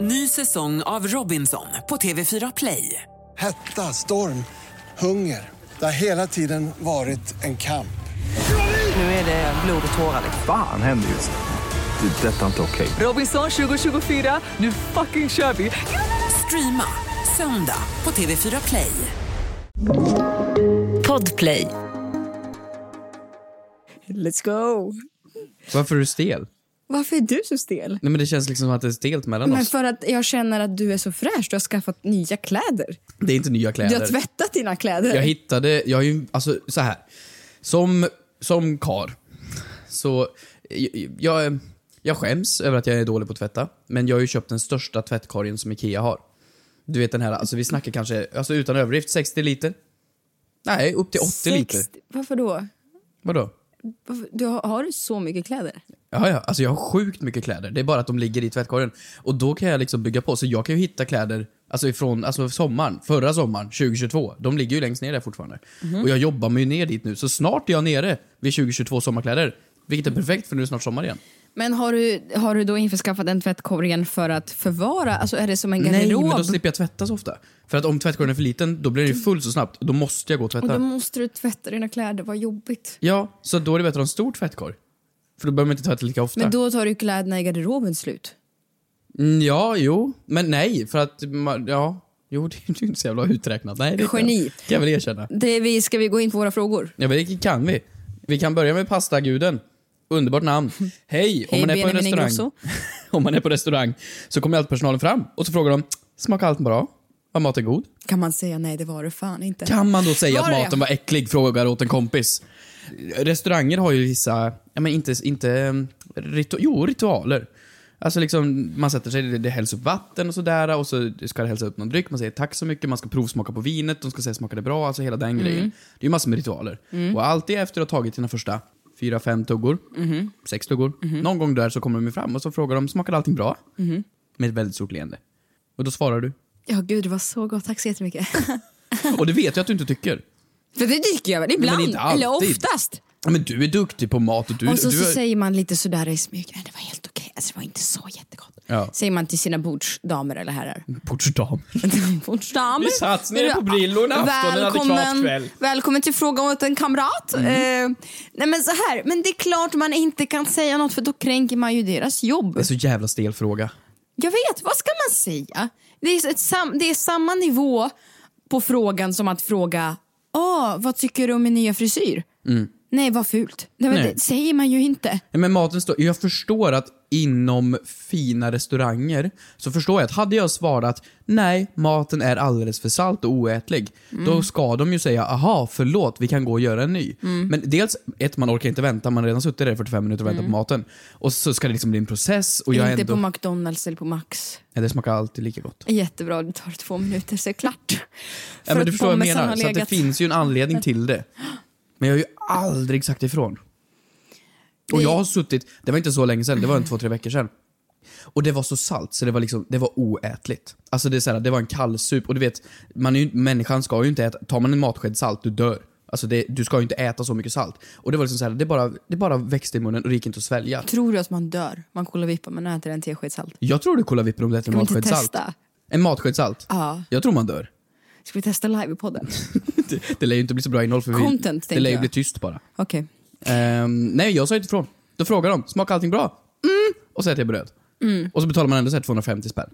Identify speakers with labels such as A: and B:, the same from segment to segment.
A: Ny säsong av Robinson på TV4 Play.
B: Hetta, storm, hunger. Det har hela tiden varit en kamp.
A: Nu är det blod och tårar.
C: Fan händer just nu. Det. är Detta är inte okej.
A: Robinson 2024, nu fucking kör vi! Streama söndag på TV4 Play.
D: Podplay. Let's go.
E: Varför är du stel?
D: Varför är du så stel?
E: Nej men det känns liksom som att det är stelt mellan
D: Men
E: oss.
D: för att jag känner att du är så fräsch. Du har skaffat nya kläder.
E: Det är inte nya
D: Du
E: kläder.
D: har tvättat dina kläder.
E: Jag hittade, jag har ju, alltså så här. Som, som kar så, jag, jag, jag skäms över att jag är dålig på att tvätta. Men jag har ju köpt den största tvättkorgen som IKEA har. Du vet den här, alltså vi snackar kanske, alltså utan överdrift, 60 liter? Nej, upp till 80 liter.
D: 60 Varför då?
E: Vadå?
D: Varför? Du har, har du så mycket kläder?
E: Ja, ja. Alltså jag har sjukt mycket kläder. Det är bara att de ligger i tvättkorgen. Och då kan jag liksom bygga på. Så jag kan ju hitta kläder, alltså ifrån, alltså sommaren, förra sommaren, 2022. De ligger ju längst ner där fortfarande.
D: Mhm.
E: Och jag jobbar mig ju ner dit nu. Så snart är jag nere vid 2022 sommarkläder. Vilket är perfekt för nu är det snart sommar igen.
D: Men har du, har du då införskaffat en tvättkorgen för att förvara? Alltså är det som en
E: Nej,
D: garderob?
E: men då slipper jag tvätta så ofta. För att om tvättkorgen är för liten, då blir den ju full så snabbt. Då måste jag gå och
D: Mm. Och
E: tvätta.
D: då måste du tvätta dina kläder, vad jobbigt.
E: Ja, så då är det bättre att ha en stor tvättkorg. För då behöver man inte tvätta lika ofta.
D: Men då tar du kläderna i garderoben slut.
E: Mm, ja, jo. Men nej, för att... man- Ja. Jo, det är ju inte så jävla uträknat. Nej, det kan-
D: Geni.
E: kan jag väl erkänna.
D: Det vi, ska vi gå in på våra frågor?
E: Ja, men det kan vi. Vi kan börja med pastaguden. Underbart namn. Hej, om
D: Hej,
E: man är på en
D: Benjamin
E: restaurang.
D: Ingrosso.
E: om man är på restaurang så kommer alltid personalen fram och så frågar de smakar allt bra? Var maten god?
D: Kan man säga nej, det var det fan inte.
E: Kan man då säga
D: Var
E: att
D: det?
E: maten var äcklig? Frågar åt en kompis. Restauranger har ju vissa, ja men inte, inte mm, ritu, jo, ritualer. Alltså liksom, man sätter sig, det, det hälls upp vatten och sådär och så ska det hälsa upp någon dryck, man säger tack så mycket, man ska provsmaka på vinet, de ska säga smakar det bra, alltså hela
D: Mm.
E: den grejen. Det är ju massor med ritualer. Och alltid efter att ha tagit sina första fyra, fem tuggor,
D: Mm-hmm.
E: sex tuggor, någon gång där så kommer de ju fram och så frågar de, smakade allting bra?
D: Mm-hmm.
E: Med ett väldigt stort leende. Och då svarar du.
D: Ja, gud, det var så gott. Tack så jättemycket.
E: Och det vet jag att du inte tycker.
D: För det dyker jag väl ibland,
E: Men inte alltid.
D: eller oftast.
E: Ja, Men du är duktig på mat och du...
D: och så,
E: du
D: så
E: är-
D: säger man lite sådär i smyg, nej det var helt okej, alltså, det var inte så jättegott.
E: Ja.
D: Säger man till sina bordsdamer eller herrar.
E: Portsdam.
D: bordsdamer?
E: Vi satt nere på Brillo en afton, en adekvat kväll. Mm.
D: Välkommen till fråga åt en kamrat. Eh, nej men så här, men det är klart man inte kan säga något för då kränker man ju deras jobb.
E: Det är så jävla stel fråga.
D: Jag vet, vad ska man säga? Det är, ett sam, det är samma nivå på frågan som att fråga Åh, vad tycker du om min nya frisyr? Nej, vad fult. Nej, men
E: Mm. Nej.
D: Det säger man ju inte.
E: Nej, Men maten står... Jag förstår att inom fina restauranger så förstår jag att hade jag svarat nej, maten är alldeles för salt och oätlig, då ska de ju säga aha, förlåt, vi kan gå och göra en ny. Men dels, ett, man orkar inte vänta, man har redan suttit där i 45 minuter och väntat på maten. Och så ska det liksom bli en process och jag Mm. är
D: inte
E: ändå...
D: på McDonalds eller på Max.
E: Nej, det smakar alltid lika gott.
D: Jättebra, det tar två minuter så är det klart.
E: Ja, men
D: att
E: du förstår vad jag
D: pommesen
E: menar.
D: har
E: Så att det
D: legat-
E: finns ju en anledning till det. Men jag har ju aldrig sagt ifrån. Och
D: Det-
E: jag har suttit, det var inte så länge sedan, det var en två, tre veckor sedan. Och det var så salt så det var liksom, det var oätligt. Alltså det är så här, det var en kallsup och du vet, man är ju, människan ska ju inte äta, tar man en matsked salt, du dör. Alltså det, du ska ju inte äta så mycket salt. Och det var liksom så här, det bara, det bara växte i munnen och det gick inte att svälja.
D: Tror du att man dör? Man kollar vippa, man äter en tesked salt.
E: Jag tror du kollar vippen om du äter en
D: Ska vi inte
E: matsked salt.
D: testa?
E: En matsked salt?
D: Ja.
E: Jag tror man dör.
D: Ska vi testa live i podden? Okej.
E: det, det lär ju inte bli så bra innehåll för
D: Content,
E: vi,
D: tänker
E: det lär ju
D: jag.
E: bli tyst bara. Ehm, nej, jag sa inte ifrån. Då frågar de, smakar allting bra? Mm! Och så äter jag bröd.
D: Mm.
E: Och så betalar man ändå så här 250 spänn.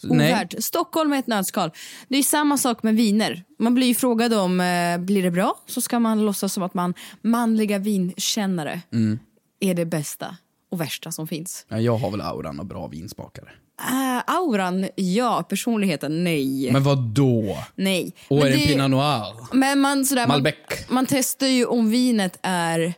E: Så, nej.
D: Ovärt. Stockholm är ett nötskal. Det är samma sak med viner. Man blir ju frågad om eh, blir det bra så ska man låtsas som att man manliga vinkännare
E: Mm.
D: är det bästa och värsta som finns.
E: Ja, Jag har väl auran av bra vinsmakare.
D: Äh, auran, ja. Personligheten, nej.
E: Men vad då?
D: nej.
E: Och
D: Men
E: är det en
D: det-
E: pinot noir?
D: Men man, sådär,
E: Malbec.
D: Man, man testar ju om vinet är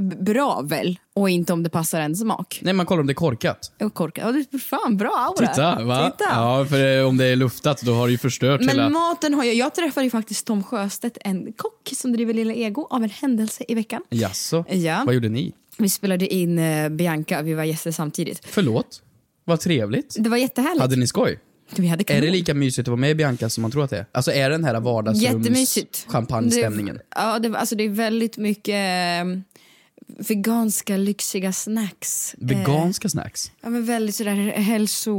D: b- bra väl och inte om det passar ens smak.
E: Nej, man kollar om det är korkat.
D: Och korkat. Ja, det är fan bra aura.
E: Titta, va?
D: Titta.
E: Ja, för eh, om det är luftat då har det ju förstört hela...
D: Men maten har jag, jag träffade ju faktiskt Tom Sjöstedt, en kock som driver Lilla Ego, av en händelse i veckan.
E: Jaså?
D: Ja.
E: Vad gjorde ni?
D: Vi spelade in eh, Bianca, vi var gäster samtidigt.
E: Förlåt? Vad trevligt.
D: Det Mm. var jättehärligt.
E: Hade ni skoj?
D: vi hade kanon.
E: Är det lika mysigt att vara med i Bianca som man tror att det är? Alltså är det den här vardagsrums
D: Jättemysigt.
E: champagnestämningen?
D: Det, ja, det, alltså det är väldigt mycket eh, veganska lyxiga snacks. Eh,
E: Veganska snacks.
D: ja, men väldigt sådär hälso...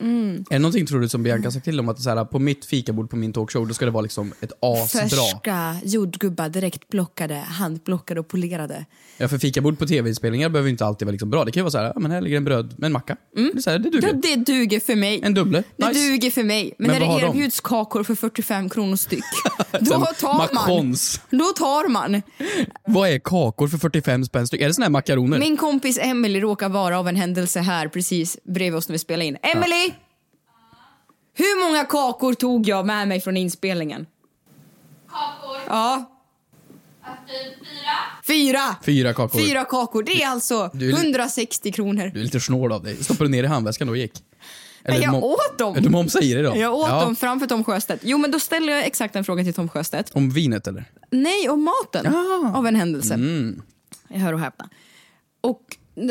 D: Mm.
E: Är det någonting tror du som Bianca sagt till om att så här, på mitt fikabord på min talkshow då ska det vara liksom ett asbra?
D: Färska jordgubbar, direkt plockade, handplockade och polerade.
E: Ja, för fikabord på tv-inspelningar behöver ju inte alltid vara liksom bra. Det kan ju vara så här, ja, men här ligger en bröd med en macka. Det, är så här, det duger.
D: Mm. Ja, det duger för mig.
E: En dubbler.
D: Det
E: Nice.
D: duger för mig. Men,
E: Men vad
D: när
E: har
D: det
E: de?
D: erbjuds kakor för 45 kronor styck, då tar man.
E: Macrons.
D: Då tar man.
E: Vad är kakor för 45 spänn styck? Är det såna här makaroner?
D: Min kompis Emily råkar vara av en händelse här precis bredvid oss när vi spelar in. Emily! Hur många kakor tog jag med mig från inspelningen?
F: kakor.
D: Ja,
F: Att typ fyra.
D: fyra!
E: Fyra kakor.
D: Fyra kakor. Det är alltså
E: du är li-
D: 160 kronor.
E: Du är lite snål av dig. Stoppade du ner i handväskan då och gick?
D: Nej, jag
E: du mom-
D: åt dem.
E: Du momsade i dig då?
D: Jag åt
E: Ja.
D: dem framför Tom Sjöstedt. Jo, men då ställer jag exakt en fråga till Tom Sjöstedt.
E: Om vinet eller?
D: Nej, om maten.
E: Ah.
D: Av en händelse.
E: Mm.
D: Jag hör och häpna. Och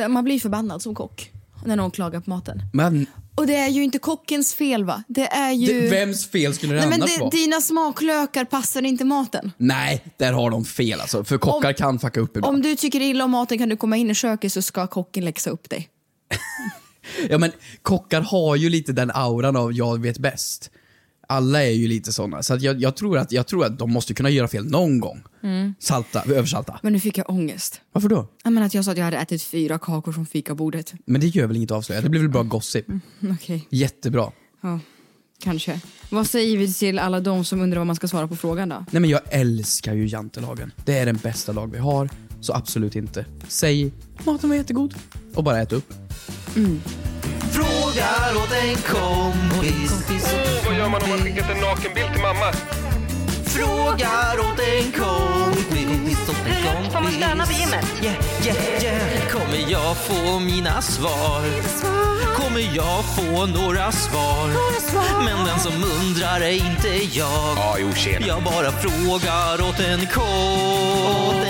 D: man blir förbannad som kock när någon klagar på maten.
E: Men
D: Och det är ju inte kockens fel va? Det är ju...
E: det, vems fel skulle det
D: Nej, men
E: annars
D: det,
E: vara?
D: dina smaklökar passar inte maten.
E: Nej, där har de fel alltså. För kockar
D: Om-
E: kan fucka upp ibland.
D: Om du tycker illa om maten kan du komma in i köket så ska kocken läxa upp dig.
E: Ja, men kockar har ju lite den auran av jag vet bäst. Alla är ju lite sådana. Så att jag, jag, tror att, jag tror att de måste kunna göra fel någon gång.
D: Mm.
E: Salta, översalta.
D: Men nu fick jag ångest.
E: Varför då?
D: Jag menar att jag sa att jag hade ätit fyra kakor från fikabordet.
E: Men det gör väl inget avslöjande? Det blir väl bara gossip?
D: Okej,
E: Jättebra.
D: ja, kanske. Vad säger vi till alla de som undrar vad man ska svara på frågan då?
E: Nej men jag älskar ju jantelagen. Det är den bästa lag vi har. Så absolut inte. Säg maten var jättegod och bara ät upp.
G: Frågar åt en kompis.
H: Vad gör man om man skickat en nakenbild till mamma?
G: Frågar åt en kompis. Åt en kompis. Mm, Får man stöna på gymmet? Yeah, yeah, yeah. Kommer jag få mina svar? Kommer jag få några svar? Men den som undrar är inte jag.
H: Ja, jo, tjena.
G: Jag bara frågar åt en kompis.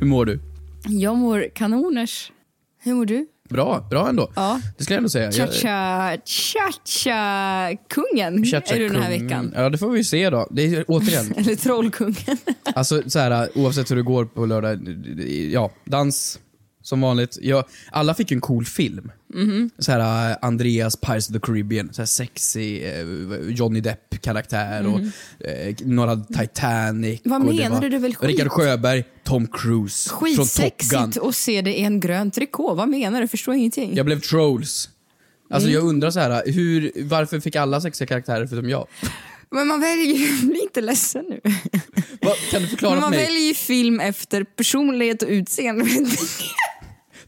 E: Hur mår du?
D: Jag mår kanoners. Hur mår du?
E: Bra, bra ändå.
D: Ja.
E: Det skulle jag ändå säga. Jag-
D: Cha-cha, cha-cha-kungen
E: Cha-cha
D: är du den här
E: kungen.
D: veckan.
E: Ja, det får vi se då. Det är, återigen,
D: Eller trollkungen.
E: Alltså så här, oavsett hur det går på lördag, ja, dans som vanligt. Ja, alla fick ju en cool film.
D: Mhm.
E: Så här, eh, Andreas, Pirates of the Caribbean, så här sexy eh, Johnny Depp-karaktär och eh, några Titanic.
D: Mhm. Vad
E: och det
D: menade
E: var
D: du? Det är väl skit?
E: Rickard Sjöberg, Tom Cruise från Top Gun.
D: Skitsexigt att se det i en grön trikå. Vad menar du? Förstår ingenting.
E: Jag blev trolls. Alltså
D: Mm.
E: jag undrar så här, hur, varför fick alla sexiga karaktärer förutom jag?
D: Men man väljer ju, bli inte ledsen nu.
E: Vad- Kan du förklara
D: Men
E: för
D: man
E: mig?
D: väljer ju film efter personlighet och utseende.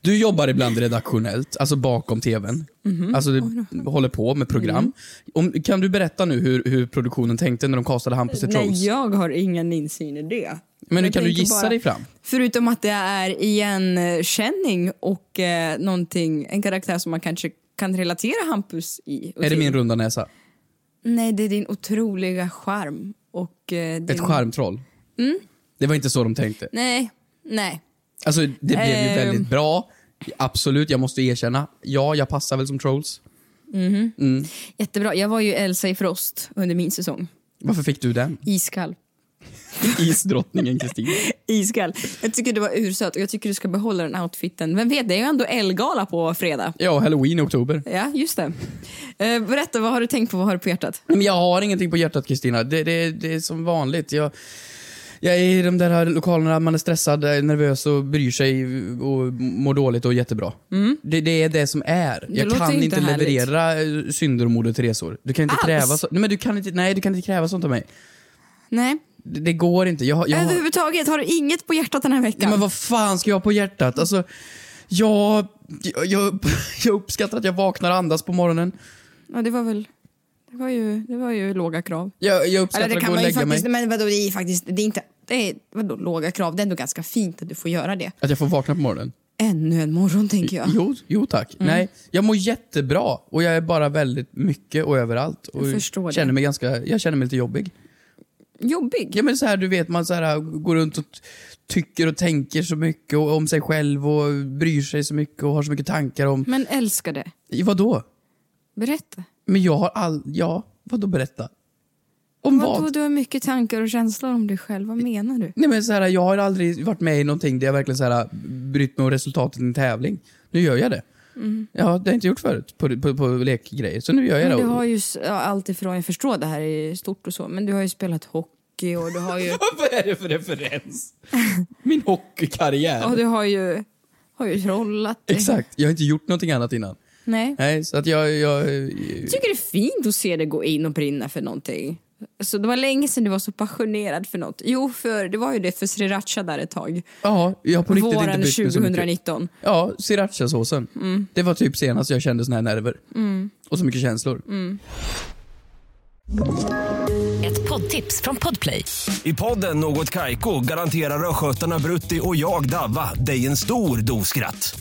E: Du jobbar ibland redaktionellt, alltså bakom tvn.
D: Mhm.
E: Alltså du håller på med
D: Mm.
E: program. Om, kan du berätta nu hur, hur produktionen tänkte när de kastade Hampus till Trolls?
D: Nej, jag har ingen insyn i det.
E: Men
D: Jag
E: kan
D: tänker
E: du gissa dig fram?
D: Förutom att det är igenkänning och eh, någonting, en karaktär som man kanske kan relatera Hampus i. och
E: Är det
D: till.
E: min runda näsa?
D: Nej, det är din otroliga charm. Och, eh, din...
E: Ett charmtroll?
D: Mm.
E: Det var inte så de tänkte.
D: Nej, nej.
E: Alltså, det blev ju
D: Ehm.
E: väldigt bra. Absolut, jag måste erkänna. Ja, jag passar väl som Trolls.
D: Jättebra. Jag var ju Elsa i Frost under min säsong.
E: Varför fick du den?
D: Iskall.
E: Isdrottningen Kristina.
D: Iskall. Jag tycker du var ursöt och jag tycker du ska behålla den outfiten. Vem vet, det är ju ändå Elgala på fredag.
E: Ja, halloween i oktober.
D: Ja, just det. Eh, berätta, vad har du tänkt på? Vad har du på hjärtat?
E: Men jag har ingenting på hjärtat Kristina. Det, det, det är som vanligt. Jag, jag är i de där här lokalerna, man är stressad, är nervös och bryr sig och mår dåligt och jättebra. Det, det är det som är. jag
D: Mm. låter
E: kan
D: inte
E: inte
D: härligt.
E: leverera eh, synder och moder Teresor. Du kan inte
D: Alls?
E: kräva så, nej, men du kan inte, nej, du kan inte kräva sånt av mig.
D: Nej,
E: Det, det går inte. Jag, har- jag, har-
D: överhuvudtaget har du inget på hjärtat den här veckan.
E: Ja, men vad fan ska jag ha på hjärtat? Alltså, jag, jag, jag, jag uppskattar att jag vaknar och andas på morgonen.
D: ja, det var väl... Det var ju, det var ju låga krav.
E: Jag, jag uppskattar
D: Eller det
E: att
D: kan
E: gå och
D: man ju
E: lägga
D: faktiskt,
E: mig.
D: men vadå, det är faktiskt, det är inte, det är, vadå, låga krav, det är ändå ganska fint att du får göra det.
E: Att jag får vakna på morgonen.
D: Ännu en morgon tänker jag.
E: Jo, jo tack.
D: Mm.
E: Nej, jag mår jättebra och jag är bara väldigt mycket och överallt. Och
D: Jag förstår det.
E: känner mig ganska, jag känner mig lite jobbig.
D: Jobbig.
E: Ja men så här, du vet, man så här, går runt och t- tycker och tänker så mycket och, om sig själv och bryr sig så mycket och har så mycket tankar om...
D: Men älskar det.
E: Vadå?
D: Berätta.
E: Men jag har all... Ja, vadå berätta? Om
D: Vadå,
E: vad?
D: du har mycket tankar och känslor om dig själv. Vad menar du?
E: Nej men så här, jag har aldrig varit med i någonting där jag verkligen så här, brytt mig om resultatet i en tävling. Nu gör jag det. Ja, det har jag inte gjort förut på, på, på lekgrejer, så nu gör jag
D: Mm. Men
E: det.
D: du har ju s- ja, allt ifrån, jag förstår det här är stort och så, men du har ju spelat hockey och du har ju,
E: Vad är det för referens? Min hockeykarriär.
D: och du har ju, har ju trollat.
E: Exakt, jag har inte gjort någonting annat innan.
D: Nej.
E: Nej, så att jag... jag
D: Jag tycker det är fint att se dig gå in och brinna för någonting. Alltså, det var länge sedan du var så passionerad för något. Jo, för det var ju det för sriracha där ett tag.
E: ja, jag har på riktigt inte
D: Våren
E: brytt mig så mycket.
D: 2019.
E: Ja, srirachasåsen.
D: Mm.
E: Det var typ senast jag kände såna här nerver. Och så mycket känslor.
D: Mm.
I: Ett poddtips från Podplay.
J: I podden Något Kaiko garanterar östgötarna Brutti och jag, Davva, dig en stor dos skratt.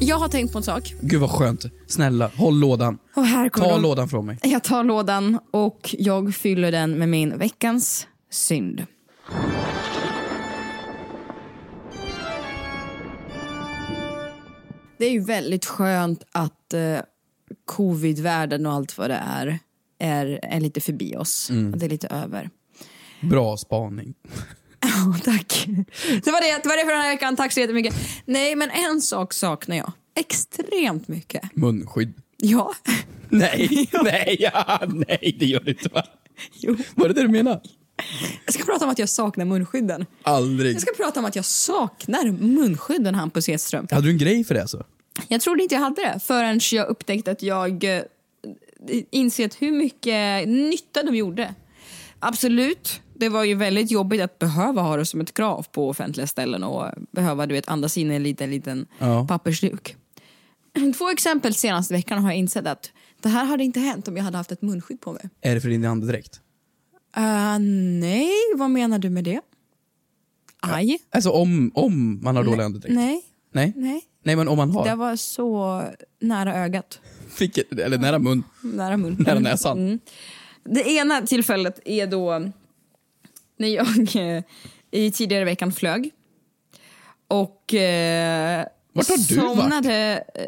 D: Jag har tänkt på en sak.
E: Gud vad skönt. Snälla, håll lådan.
D: Och här kommer
E: Ta
D: de-
E: lådan från mig.
D: Jag tar lådan och jag fyller den med min veckans synd. Det är ju väldigt skönt att eh, covid-världen och allt vad det är är, är lite förbi oss.
E: Mm.
D: Att Det är lite över.
E: Bra spaning.
D: Ja, tack. Det var det, det var det för den här veckan. Tack så jättemycket. Nej, men en sak saknar jag extremt mycket.
E: Munskydd.
D: Ja.
E: Nej, nej, ja, nej, det gör du inte va?
D: Jo.
E: Var det det du menade?
D: Jag ska prata om att jag saknar munskydden.
E: Aldrig.
D: Jag ska prata om att jag saknar munskydden, Hampus Hedström.
E: Hade du en grej för det alltså?
D: Jag trodde inte jag hade det förrän jag upptäckte att jag eh, insett hur mycket nytta de gjorde. Absolut, det var ju väldigt jobbigt att behöva ha det som ett krav på offentliga ställen och behöva du vet, andas in i en liten, liten
E: Ja.
D: pappersduk. Två exempel senaste veckan har jag insett att det här hade inte hänt om jag hade haft ett munskydd på mig.
E: Är det för din andedräkt?
D: Eh, nej, vad menar du med det? Aj?
E: Alltså om, om man har dålig andedräkt?
D: Nej,
E: Nej?
D: nej.
E: Nej, men om man
D: Det
E: har?
D: var så nära ögat.
E: Fick, eller nära mun,
D: Nära mun. Mm.
E: nära näsan.
D: Det ena tillfället är då när jag eh, i tidigare veckan flög. Och eh,
E: Vart har du
D: somnade... eh,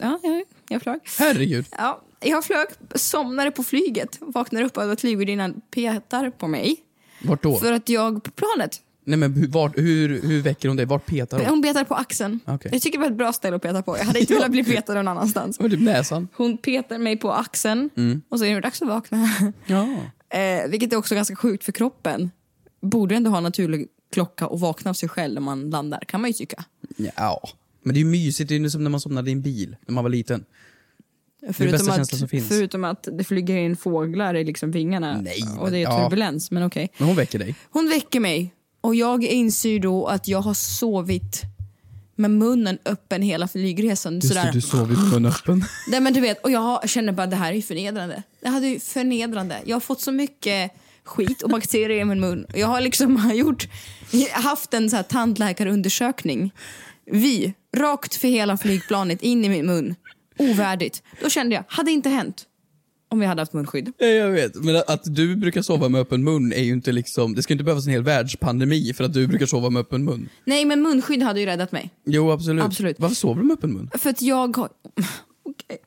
D: Ja, jag, jag flög.
E: Herregud.
D: Ja, jag flög, somnade på flyget, vaknar upp av att flygvärdinnan petar på mig.
E: Vart då?
D: För att jag på planet,
E: Nej, men hur, vart, hur, hur väcker hon dig? Vart petar hon?
D: hon petar på axeln.
E: Okej.
D: Jag tycker det var ett bra ställe att peta på. Jag hade inte velat bli petad någon annanstans.
E: Det var typ näsan.
D: Hon petar mig på axeln
E: Mm.
D: och så är det dags att vakna.
E: Ja.
D: Eh, vilket är också ganska sjukt för kroppen. Borde ändå ha en naturlig klocka och vakna av sig själv när man landar, kan man ju tycka.
E: ja. Men det är ju mysigt. Det är ju som när man somnade i en bil när man var liten. bästa
D: att,
E: känslan som finns.
D: förutom att det flyger in fåglar i liksom vingarna
E: Nej,
D: och
E: men-
D: det är
E: ja.
D: turbulens, men okej.
E: Men hon väcker dig.
D: Hon väcker mig och jag inser då att jag har sovit med munnen öppen hela flygresan. sådär.
E: sov ju munnen öppen.
D: Nej, men du vet, och jag har- känner bara det här är ju förnedrande. Det här är ju förnedrande. Jag har fått så mycket skit och bakterier i min mun. Jag har liksom gjort, haft en så här tandläkarundersökning. Vi, rakt för hela flygplanet in i min mun. Ovärdigt. Då kände jag, hade inte hänt om vi hade haft munskydd.
E: Ja, jag vet. Men att, att du brukar sova med öppen mun är ju inte liksom... Det ska inte behövas en hel världspandemi för att du brukar sova med öppen mun.
D: Nej, men munskydd hade ju räddat mig.
E: Jo, absolut.
D: Absolut.
E: Varför sover du med öppen mun?
D: För att jag har... Okej,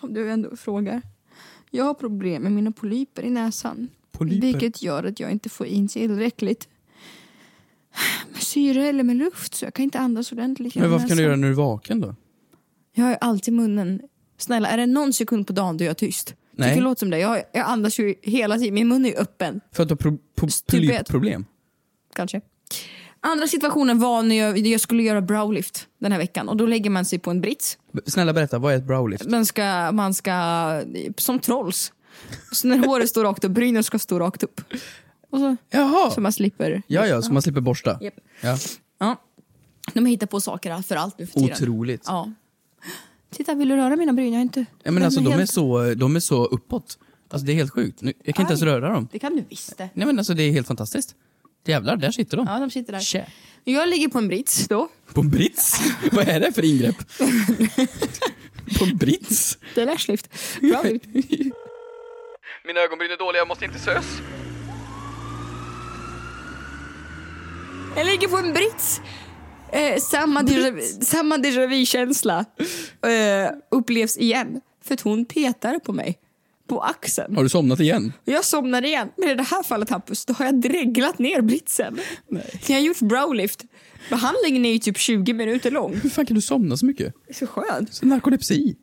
D: om du ändå frågar. Jag har problem med mina polyper i näsan.
E: Polyper?
D: Vilket gör att jag inte får in tillräckligt med syre eller med luft. Så jag kan inte andas ordentligt.
E: Men
D: genom
E: varför kan du göra
D: näsan.
E: det när du är vaken då?
D: Jag har ju alltid munnen... Snälla, är det någon sekund på dagen då jag är tyst?
E: Nej.
D: Tycker det låter som det. Jag, har- jag andas ju hela tiden. Min mun är ju öppen.
E: För att du har pro- po-
D: Stupid.
E: polypproblem?
D: Kanske. Andra situationen var när jag, jag skulle göra browlift den här veckan. Och då lägger man sig på en brits.
E: B- Snälla berätta, vad är ett browlift?
D: Man ska, man ska som trolls. Så när håret står rakt upp, brynen ska stå rakt upp. Och så,
E: Jaha!
D: så man slipper.
E: Ja, ja, så man slipper borsta.
D: Japp.
E: Ja.
D: Ja. De hittar på saker för allt nu för tiden.
E: Otroligt.
D: Ja. Titta, vill du röra mina bryn? Jag har inte...
E: Ja, men alltså,
D: är
E: de, är
D: helt-
E: så, de är så uppåt. Alltså det är helt sjukt. Nu, jag kan inte ens
D: Aj.
E: röra dem.
D: Det kan du visst det.
E: Nej men alltså det är helt fantastiskt. Jävlar, där sitter de.
D: Ja, de sitter där.
E: Tjä.
D: Jag ligger på en brits då.
E: På en brits? Vad är det för ingrepp? på en brits?
D: Det är lashlift. Bra bild.
E: Mina ögonbryn är dåliga, jag måste inte sös.
D: Jag ligger på en brits. Eh, samma déjà samma déjà vu-känsla eh, upplevs igen. För att hon petar på mig. På axeln.
E: Har du somnat igen?
D: Och jag somnar igen. Men i det här fallet Hampus, då har jag dreglat ner britsen. Jag har gjort browlift. Behandlingen är ju typ 20 minuter lång.
E: Hur fan kan du somna så mycket?
D: Det är så skönt.
E: Så narkolepsi?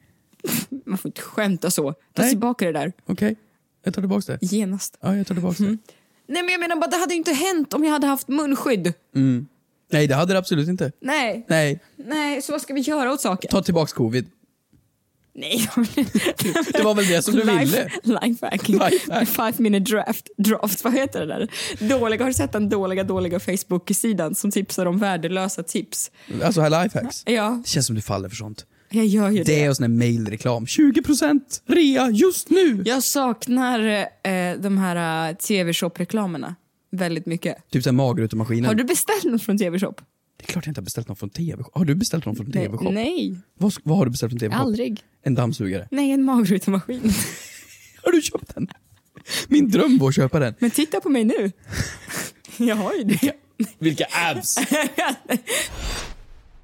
D: Man får inte skämta så. Ta
E: Nej.
D: tillbaka det där.
E: Okej, jag tar tillbaka det.
D: Genast.
E: Ja, jag tar tillbaka
D: Mm.
E: det.
D: Nej men jag menar bara, det hade ju inte hänt om jag hade haft munskydd.
E: Mm. Nej, det hade det absolut inte.
D: Nej.
E: Nej,
D: Nej, så vad ska vi göra åt saken?
E: ta tillbaka covid.
D: Nej.
E: Det var väl det som du ville?
D: Life- Lifehack.
E: Lifehack.
D: Five minute draft. draft. Vad heter det där? Dåliga, har du sett den dåliga, dåliga Facebook-sidan som tipsar om värdelösa tips?
E: Alltså här lifehacks.
D: Ja,
E: Det känns som du faller för sånt.
D: jag gör ju det.
E: Det är och sån här mailreklam. 20% rea just nu!
D: Jag saknar eh, de här eh, tv-shop-reklamerna väldigt mycket.
E: Typ såhär magrutomaskinen.
D: Har du beställt något från tv-shop?
E: Det är klart jag inte har beställt någon från TV. Har du beställt någon från TV-shop?
D: Nej,
E: Vad, vad har du beställt från TV-shop?
D: aldrig.
E: En dammsugare.
D: Nej, en magrutemaskin.
E: Har du köpt den? Min dröm var att köpa den.
D: Men titta på mig nu. Jag har ju det.
E: Vilka abs!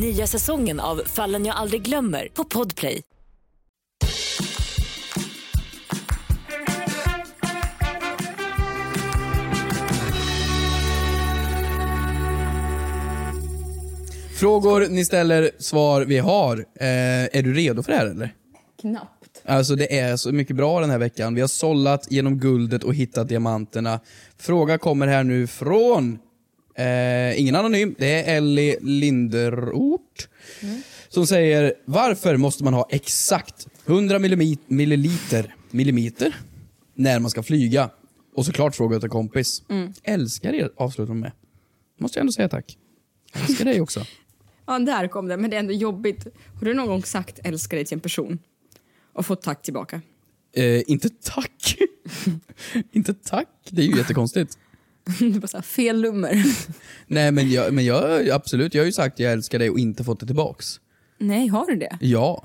I: Nya säsongen av Fallen jag aldrig glömmer på Podplay.
E: Frågor ni ställer, svar vi har. Eh, är du redo för det här eller?
D: Knappt.
E: Alltså det är så mycket bra den här veckan. Vi har sållat genom guldet och hittat diamanterna. Fråga kommer här nu från eh, ingen anonym. Det är Ellie Linderort. Som säger varför måste man ha exakt 100 millimi- milliliter, milliliter när man ska flyga? Och såklart fråga åt en kompis.
D: Mm.
E: Älskar er avslutar hon med. Måste jag ändå säga tack. Älskar dig också.
D: Ja, där kom den. Men det är ändå jobbigt. Har du någon gång sagt älskar dig till en person och fått tack tillbaka?
E: Eh, inte tack. inte tack. Det är ju jättekonstigt.
D: det var så här, fel nummer.
E: Nej men jag, men jag, absolut, jag har ju sagt jag älskar dig och inte fått det tillbaks.
D: Nej, har du det?
E: Ja.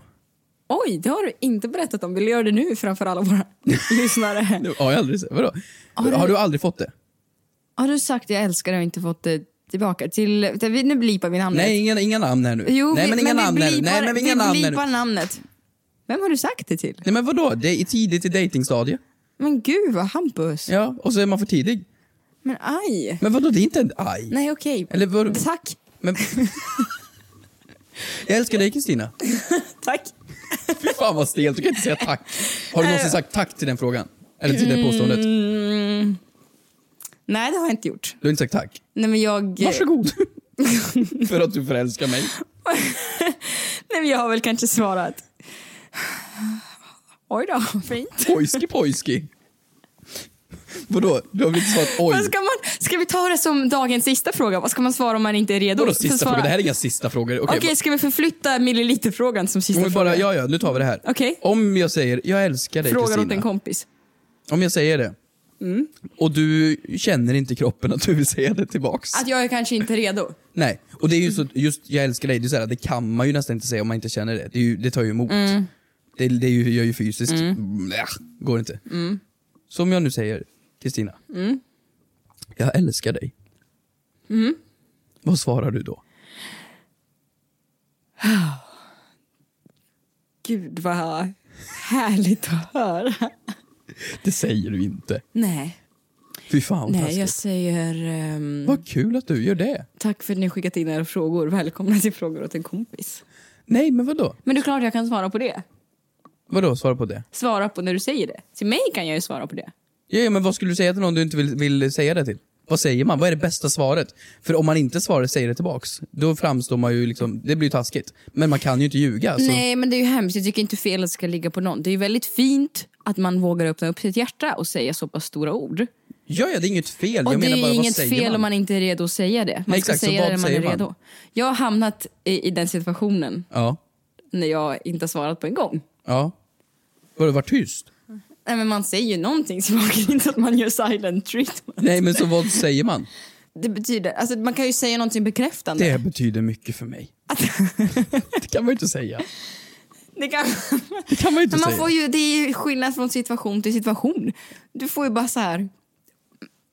D: Oj, det har du inte berättat om. Vill du göra det nu framför alla våra lyssnare?
E: Det har jag aldrig sett. Vadå? Har, du aldrig fått det?
D: Har du sagt jag älskar dig och inte fått det tillbaka? Till, till, vi- nu blipar vi namnet.
E: Nej, inga, inga namn här nu.
D: Jo,
E: Nej
D: vi,
E: men inga namn
D: vi
E: här nu.
D: blipar,
E: Nej men inga
D: vi
E: namn här nu.
D: blipar namnet. Vem har du sagt det till?
E: Nej men vadå? Det är tidigt i dejtingstadiet.
D: Men gud vad Hampus.
E: Ja, och så är man för tidig.
D: Men aj.
E: Men vadå, det är inte en aj.
D: Nej okej.
E: Eller vadå?
D: Tack.
E: Men... jag älskar dig Kristina.
D: Tack.
E: Fy fan vad stelt, du kan inte säga tack. Har du
D: Eh.
E: någonsin sagt tack till den frågan? Eller till det påståendet?
D: Mm. Nej, det har jag inte gjort.
E: Du har inte sagt tack?
D: Nej, men jag...
E: Varsågod. för att du förälskar mig.
D: Nej, men jag har väl kanske svarat. Oj då, fint.
E: Pojski pojski. Vadå? Du har väl inte svarat oj?
D: Vad Ska, man, ska vi ta det som dagens sista fråga? Vad ska man svara om man inte är redo?
E: Vadå
D: Ska
E: sista
D: svara-
E: frågan? Det här är inga sista frågor. Okej,
D: Okej, ska vi förflytta milliliterfrågan som sista
E: om vi bara,
D: fråga?
E: ja, ja, nu tar vi det här.
D: Okej.
E: Om jag säger, jag älskar dig
D: Frågar åt en
E: Kristina.
D: kompis.
E: Om jag säger det.
D: Mm.
E: Och du känner inte i kroppen att du vill säga det tillbaks.
D: Att jag är kanske inte redo.
E: Nej. Och det är ju så, just jag älskar dig, det, är så här, det kan man ju nästan inte säga om man inte känner det. Det, är ju, det tar ju emot.
D: Mm.
E: Det, det är ju, gör ju fysiskt,
D: Mm.
E: mm. ja, går inte.
D: Mm.
E: Som jag nu säger, Kristina.
D: Mm.
E: Jag älskar dig.
D: Mm.
E: Vad svarar du då?
D: Gud vad härligt att höra.
E: Det säger du inte.
D: Nej,
E: Fy fan vad
D: nej
E: taskigt.
D: jag säger... ehm,
E: Vad kul att du gör det.
D: Tack för att ni har skickat in era frågor. Välkomna till frågor åt en kompis.
E: Nej, men vadå?
D: Men det är klart jag kan svara på det.
E: Vadå, svara på det?
D: Svara på när du säger det. Till mig kan jag ju svara på det.
E: Ja, ja, men vad skulle du säga till någon du inte vill, vill säga det till? Vad säger man? Vad är det bästa svaret? För om man inte svarar säger det tillbaks, då framstår man ju liksom, det blir ju taskigt. Men man kan ju inte ljuga. alltså. Så.
D: Nej, men det är ju hemskt. Jag tycker inte felet ska ligga på någon. Det är ju väldigt fint att man vågar öppna upp sitt hjärta och säga så pass stora ord.
E: Ja, ja, det är inget fel.
D: och
E: jag
D: det
E: menar
D: är
E: bara, vad
D: inget
E: säger
D: fel
E: man?
D: om man inte är redo att säga det. Man
E: Nej,
D: ska
E: exakt, så
D: säga det
E: vad
D: när man
E: säger
D: är
E: man?
D: redo. Jag har hamnat i, i den situationen
E: Ja.
D: när jag inte har svarat på en gång.
E: Ja. Var du varit tyst?
D: Nej, men man säger ju någonting så man kan inte att man gör silent treatment.
E: Nej, men så vad säger man?
D: Det betyder, alltså man kan ju säga någonting bekräftande.
E: Det betyder mycket för mig. det kan man ju inte säga.
D: Det kan,
E: Det kan man ju inte
D: men man
E: säga.
D: får ju, det är ju skillnad från situation till situation. Du får ju bara så här,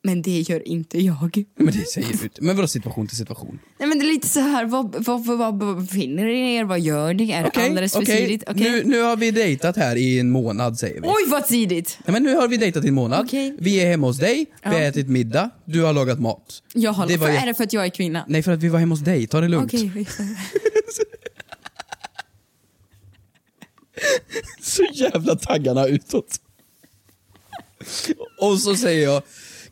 D: men det gör inte jag.
E: Men det säger du inte. Men vadå situation till situation?
D: Nej, men det är lite så här, vad, vad, vad, vad vad befinner ni er? Vad gör ni? Är det alldeles för
E: okej.
D: tidigt? Okej.
E: Nu, nu har vi dejtat här i en månad säger vi.
D: Oj, vad tidigt!
E: Nej, men nu har vi dejtat i en månad.
D: Okej.
E: Vi är hemma hos dig, vi
D: Ja.
E: har ätit middag, du har lagat mat.
D: Jag har,
E: Det var
D: för,
E: ju-
D: Är det för att jag är kvinna?
E: Nej, för att vi var hemma hos dig. Ta det lugnt.
D: Okej.
E: Så jävla taggarna utåt. Och så säger jag,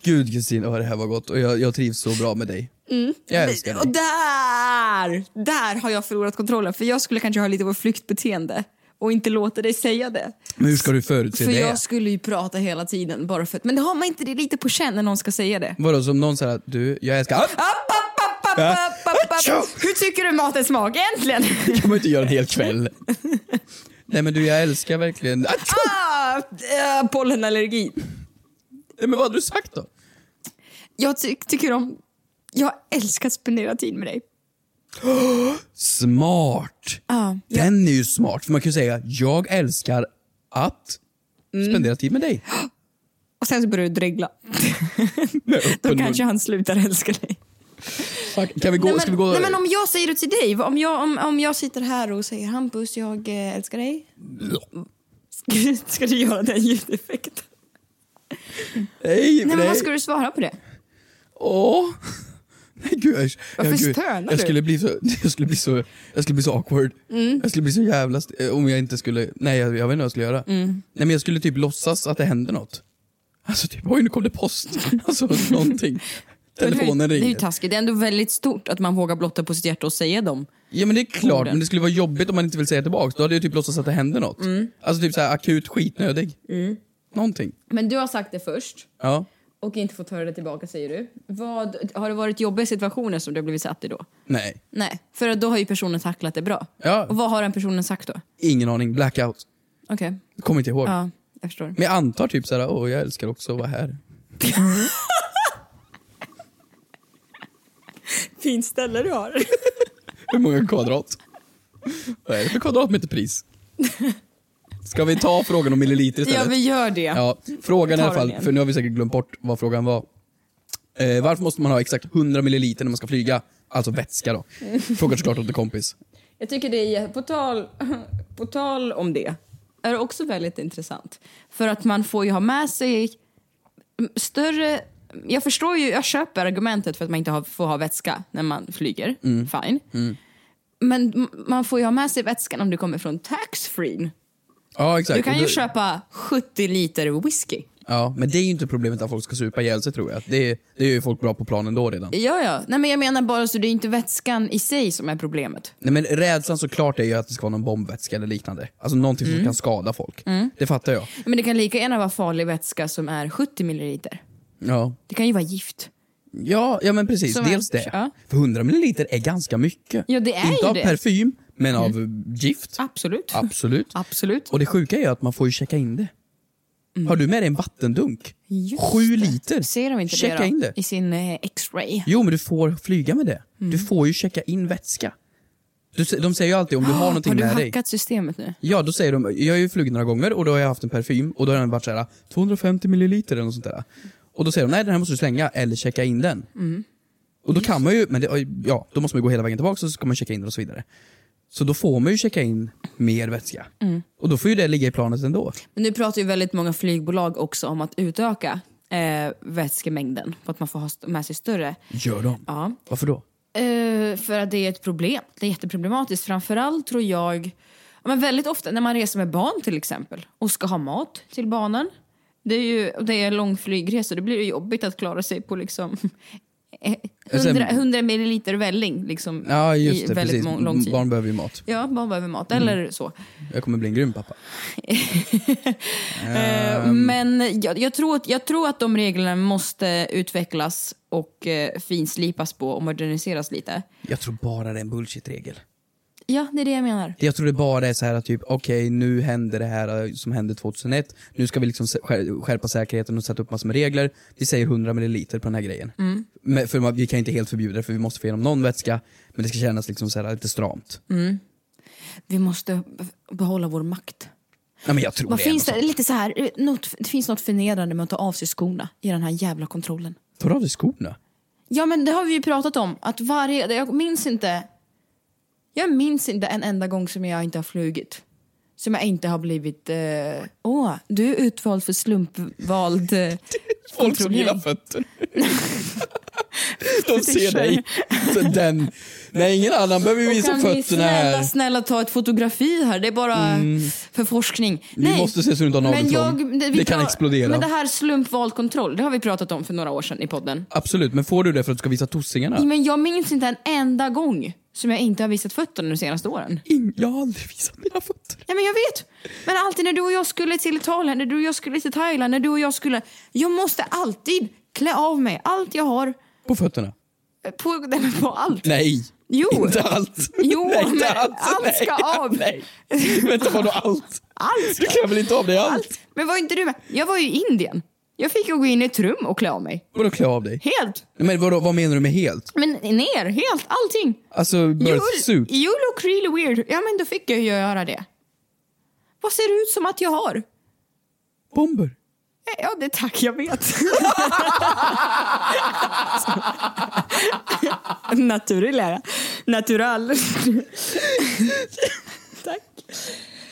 E: Gud Kristin, åh, det här var gott och jag, jag trivs så bra med dig.
D: Mm.
E: Jag älskar dig.
D: Och där, där har jag förlorat kontrollen. För jag skulle kanske ha lite flyktbeteende och inte låta dig säga det.
E: Men hur ska du förutse
D: För
E: det?
D: jag skulle ju prata hela tiden bara för att, men det har man inte det är lite på känn när någon ska säga det.
E: Vadå, som någon säger att du, jag älskar... Ah, App, Ja.
D: Papp, papp, Hur tycker du maten smakar äntligen?
E: Det kan man ju inte göra en hel kväll. Nej men du, jag älskar verkligen... App.
D: ah, äh, pollenallergi.
E: Nej, men vad hade du sagt då?
D: Jag ty- tycker om, jag älskar att spendera tid med dig.
E: Smart!
D: Ja.
E: Den är ju smart, för man kan ju säga, jag älskar att
D: Mm.
E: spendera tid med dig.
D: Och sen så börjar du dregla. Då kanske han slutar älska dig.
E: Fuck, Kan vi gå?
D: nej, men,
E: ska vi gå?
D: nej men om jag säger det till dig, om jag, om, om jag sitter här och säger Hampus jag eh, älskar dig. Ska, du- ska du göra den ljudeffekten?
E: Nej,
D: Nej men
E: nej.
D: vad ska du svara på det?
E: Åh! Nej gud, jag,
D: Varför
E: jag, gud,
D: stönar
E: jag
D: du?
E: skulle bli så, jag skulle bli så, jag skulle bli så awkward.
D: Mm.
E: Jag skulle bli så jävla, st- eh, om jag inte skulle, nej jag, jag vet inte vad jag skulle göra.
D: Mm.
E: Nej men jag skulle typ låtsas att det händer något. Alltså typ, oj nu kom det post. Alltså någonting. Telefonen
D: det är ju
E: ringer.
D: taskigt, det är ändå väldigt stort att man vågar blotta på sitt hjärta och säga dem.
E: Ja men det är klart,
D: Orden.
E: men det skulle vara jobbigt om man inte vill säga tillbaks. Då hade jag typ låtsats att det hände något.
D: Mm.
E: Alltså typ så här akut skitnödig. Någonting.
D: Men du har sagt det först
E: Ja.
D: och inte fått höra det tillbaka säger du. Vad, har det varit jobbiga situationer som du har blivit satt i då?
E: Nej.
D: Nej, för då har ju personen tacklat det bra.
E: Ja.
D: Och vad har den personen sagt då?
E: Ingen aning. Blackout.
D: Okej,
E: Kommer inte ihåg.
D: ja, jag förstår.
E: Men jag antar typ såhär, åh jag älskar också att vara här.
D: Fint ställe du har.
E: Hur många kvadrat? Vad är det för kvadratmeterpris? Ska vi ta frågan om milliliter istället?
D: Ja, vi gör det.
E: Ja, frågan
D: Tar
E: i alla
D: den
E: fall,
D: igen.
E: för nu har vi säkert glömt bort vad frågan var. Eh, varför måste man ha exakt 100 milliliter när man ska flyga? Alltså vätska då. Frågar såklart åt en kompis.
D: Jag tycker det är, på tal, på tal om det, är det också väldigt intressant. För att man får ju ha med sig större... Jag förstår ju, jag köper argumentet för att man inte har, får ha vätska när man flyger.
K: Mm.
D: Fine. Men m- man får ju ha med sig vätskan om du kommer från taxfree.
E: Ja, exakt.
D: Du kan
E: Och
D: ju
E: då-
D: köpa 70 liter whisky.
E: Ja, men det är ju inte problemet att folk ska supa ihjäl sig tror jag. Det, är- det är ju folk bra på planen då redan.
D: Ja, ja. Nej, men jag menar bara så det är inte vätskan i sig som är problemet.
E: Nej men rädslan såklart är ju att det ska vara någon bombvätska eller liknande. Alltså någonting som
D: Mm.
E: kan skada folk.
D: Mm.
E: Det fattar jag.
D: Men det kan lika gärna vara farlig vätska som är 70 milliliter.
E: Ja.
D: Det kan ju vara gift.
E: Ja, ja men precis.
D: Som
E: Dels
D: är-
E: det.
D: ja.
E: För 100 milliliter är ganska mycket.
D: Ja, det är
E: Inte
D: ju
E: av
D: det.
E: parfym, men av gift.
D: Absolut.
E: Absolut.
D: Absolut. Mm.
E: Och det sjuka är ju att man får ju checka in det. Har du med dig en vattendunk?
D: Just
E: Sju liter.
D: Ser de inte
E: checka
D: det, då?
E: in det.
D: I sin eh, X-ray.
E: Jo, men du får flyga med det.
D: Mm.
E: Du får ju checka in vätska. Du, se- de säger ju alltid om du har någonting
D: Ah, har du
E: med dig.
D: hackat systemet nu?
E: Ja, då säger de, jag har ju flugit några gånger och då har jag haft en parfym och då har den varit såhär 250 milliliter eller något sånt där. Och då säger de, nej den här måste du slänga eller checka in den.
D: Mm.
E: Och då kan man ju, men det, ja, då måste man ju gå hela vägen tillbaka och så ska man checka in den och så vidare. Så då får man ju checka in mer vätska. Mm. Och då får ju det ligga i planet ändå.
D: Men nu pratar ju väldigt många flygbolag också om att utöka eh, vätskemängden. För att man får ha st- med sig större.
E: Gör de?
D: Ja.
E: Varför då?
D: Eh, för att det är ett problem. Det är jätteproblematiskt. Framförallt tror jag... ja, Men väldigt ofta när man reser med barn till exempel och ska ha mat till barnen. Det är ju det är en lång flygresa, det blir ju jobbigt att klara sig på liksom eh, 100, 100 milliliter välling liksom,
E: Alltså, Ja, just
D: i
E: det.
D: väldigt
E: Precis.
D: mång- lång tid.
E: Barn behöver ju mat.
D: Ja, barn behöver mat
E: Mm.
D: eller så.
E: Jag kommer bli en grym pappa.
D: Eh,
E: Ehm,
D: Men jag, jag, tror, att- jag tror att de reglerna måste utvecklas och eh, finslipas på och moderniseras lite.
E: Jag tror bara det är en bullshit-regel.
D: Ja, det är det jag menar.
E: Jag tror det bara är så här att typ, okej nu hände det här eh, som hände 2001. Nu ska vi liksom se- skär- skärpa säkerheten och sätta upp massor med regler. Vi säger 100 milliliter på den här grejen.
D: Mm.
E: Men, för man- vi kan inte helt förbjuda det för vi måste få igenom någon vätska. Men det ska kännas liksom så här lite stramt.
D: Mm. Vi måste behålla vår makt.
E: Ja, men jag tror
D: Vad
E: det.
D: finns det, lite så här, eh, något, det finns något förnedrande med att ta av sig skorna i den här jävla kontrollen.
E: Tar du av dig skorna?
D: Ja, men det har vi ju pratat om. Att varje, jag minns inte. Jag minns inte en enda gång som jag inte har flugit. Som jag inte har blivit... eh, Åh, du är utvald för slumpvald... eh,
E: Folk som gillar
D: kontrollering.
E: fötter. De ser dig. Så den, nej ingen annan behöver ju
D: Och
E: visa
D: kan vi
E: fötterna
D: snälla,
E: här.
D: snälla ta ett fotografi här? Det är bara
E: Mm.
D: för forskning.
E: Vi måste se så du inte har
D: men
E: naveltrång.
D: jag,
E: Det
D: vi
E: kan
D: pra-
E: explodera.
D: Men det här slumpvald kontroll, det har vi pratat om för några år sedan i podden.
E: Absolut, men får du det för att du ska visa tossingarna?
D: Men jag minns inte en enda gång som jag inte har visat fötterna de senaste åren.
E: jag har aldrig visat mina fötter.
D: Ja, men jag vet. Men alltid när du och jag skulle till Italien, när du och jag skulle till Thailand, när du och jag skulle... Jag måste alltid klä av mig allt jag har eh,
E: På fötterna?
D: på, nej, men på allt.
E: Nej.
D: Jo.
E: Inte allt.
D: Jo,
E: nej, inte
D: men
E: allt.
D: allt ska
E: nej,
D: av.
E: Nej. Vänta, vadå allt?
D: Allt.
E: Du kan väl inte av dig allt?
D: Men var inte du med? Jag var ju i Indien. Jag fick ju gå in i ett rum och klä av mig.
E: Vadå klä av dig?
D: Helt.
E: Men vadå, vad menar du med helt?
D: Men ner, helt, allting.
E: Alltså,
D: You,
E: birth suit?
D: you look really weird. Ja, men då fick jag ju göra det. Vad ser det ut som att jag har?
E: Bomber?
D: Ja, det tack, jag vet. Naturlig Natural. tack.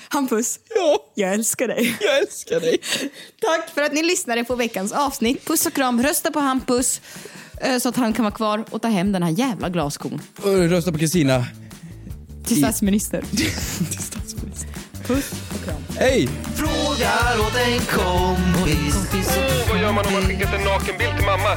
D: Hampus,
E: ja.
D: jag älskar dig.
E: Jag älskar dig.
D: Tack för att ni lyssnade på veckans avsnitt. Puss och kram, rösta på Hampus eh, så att han kan vara kvar och ta hem den här jävla glaskon.
E: Ö, Rösta på Kristina.
D: Till statsminister.
E: Puss och kram. Hej!
G: Frågar åt en kompis.
H: Åh, vad gör man om man skickat en nakenbild till mamma?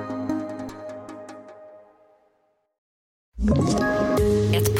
I: Ett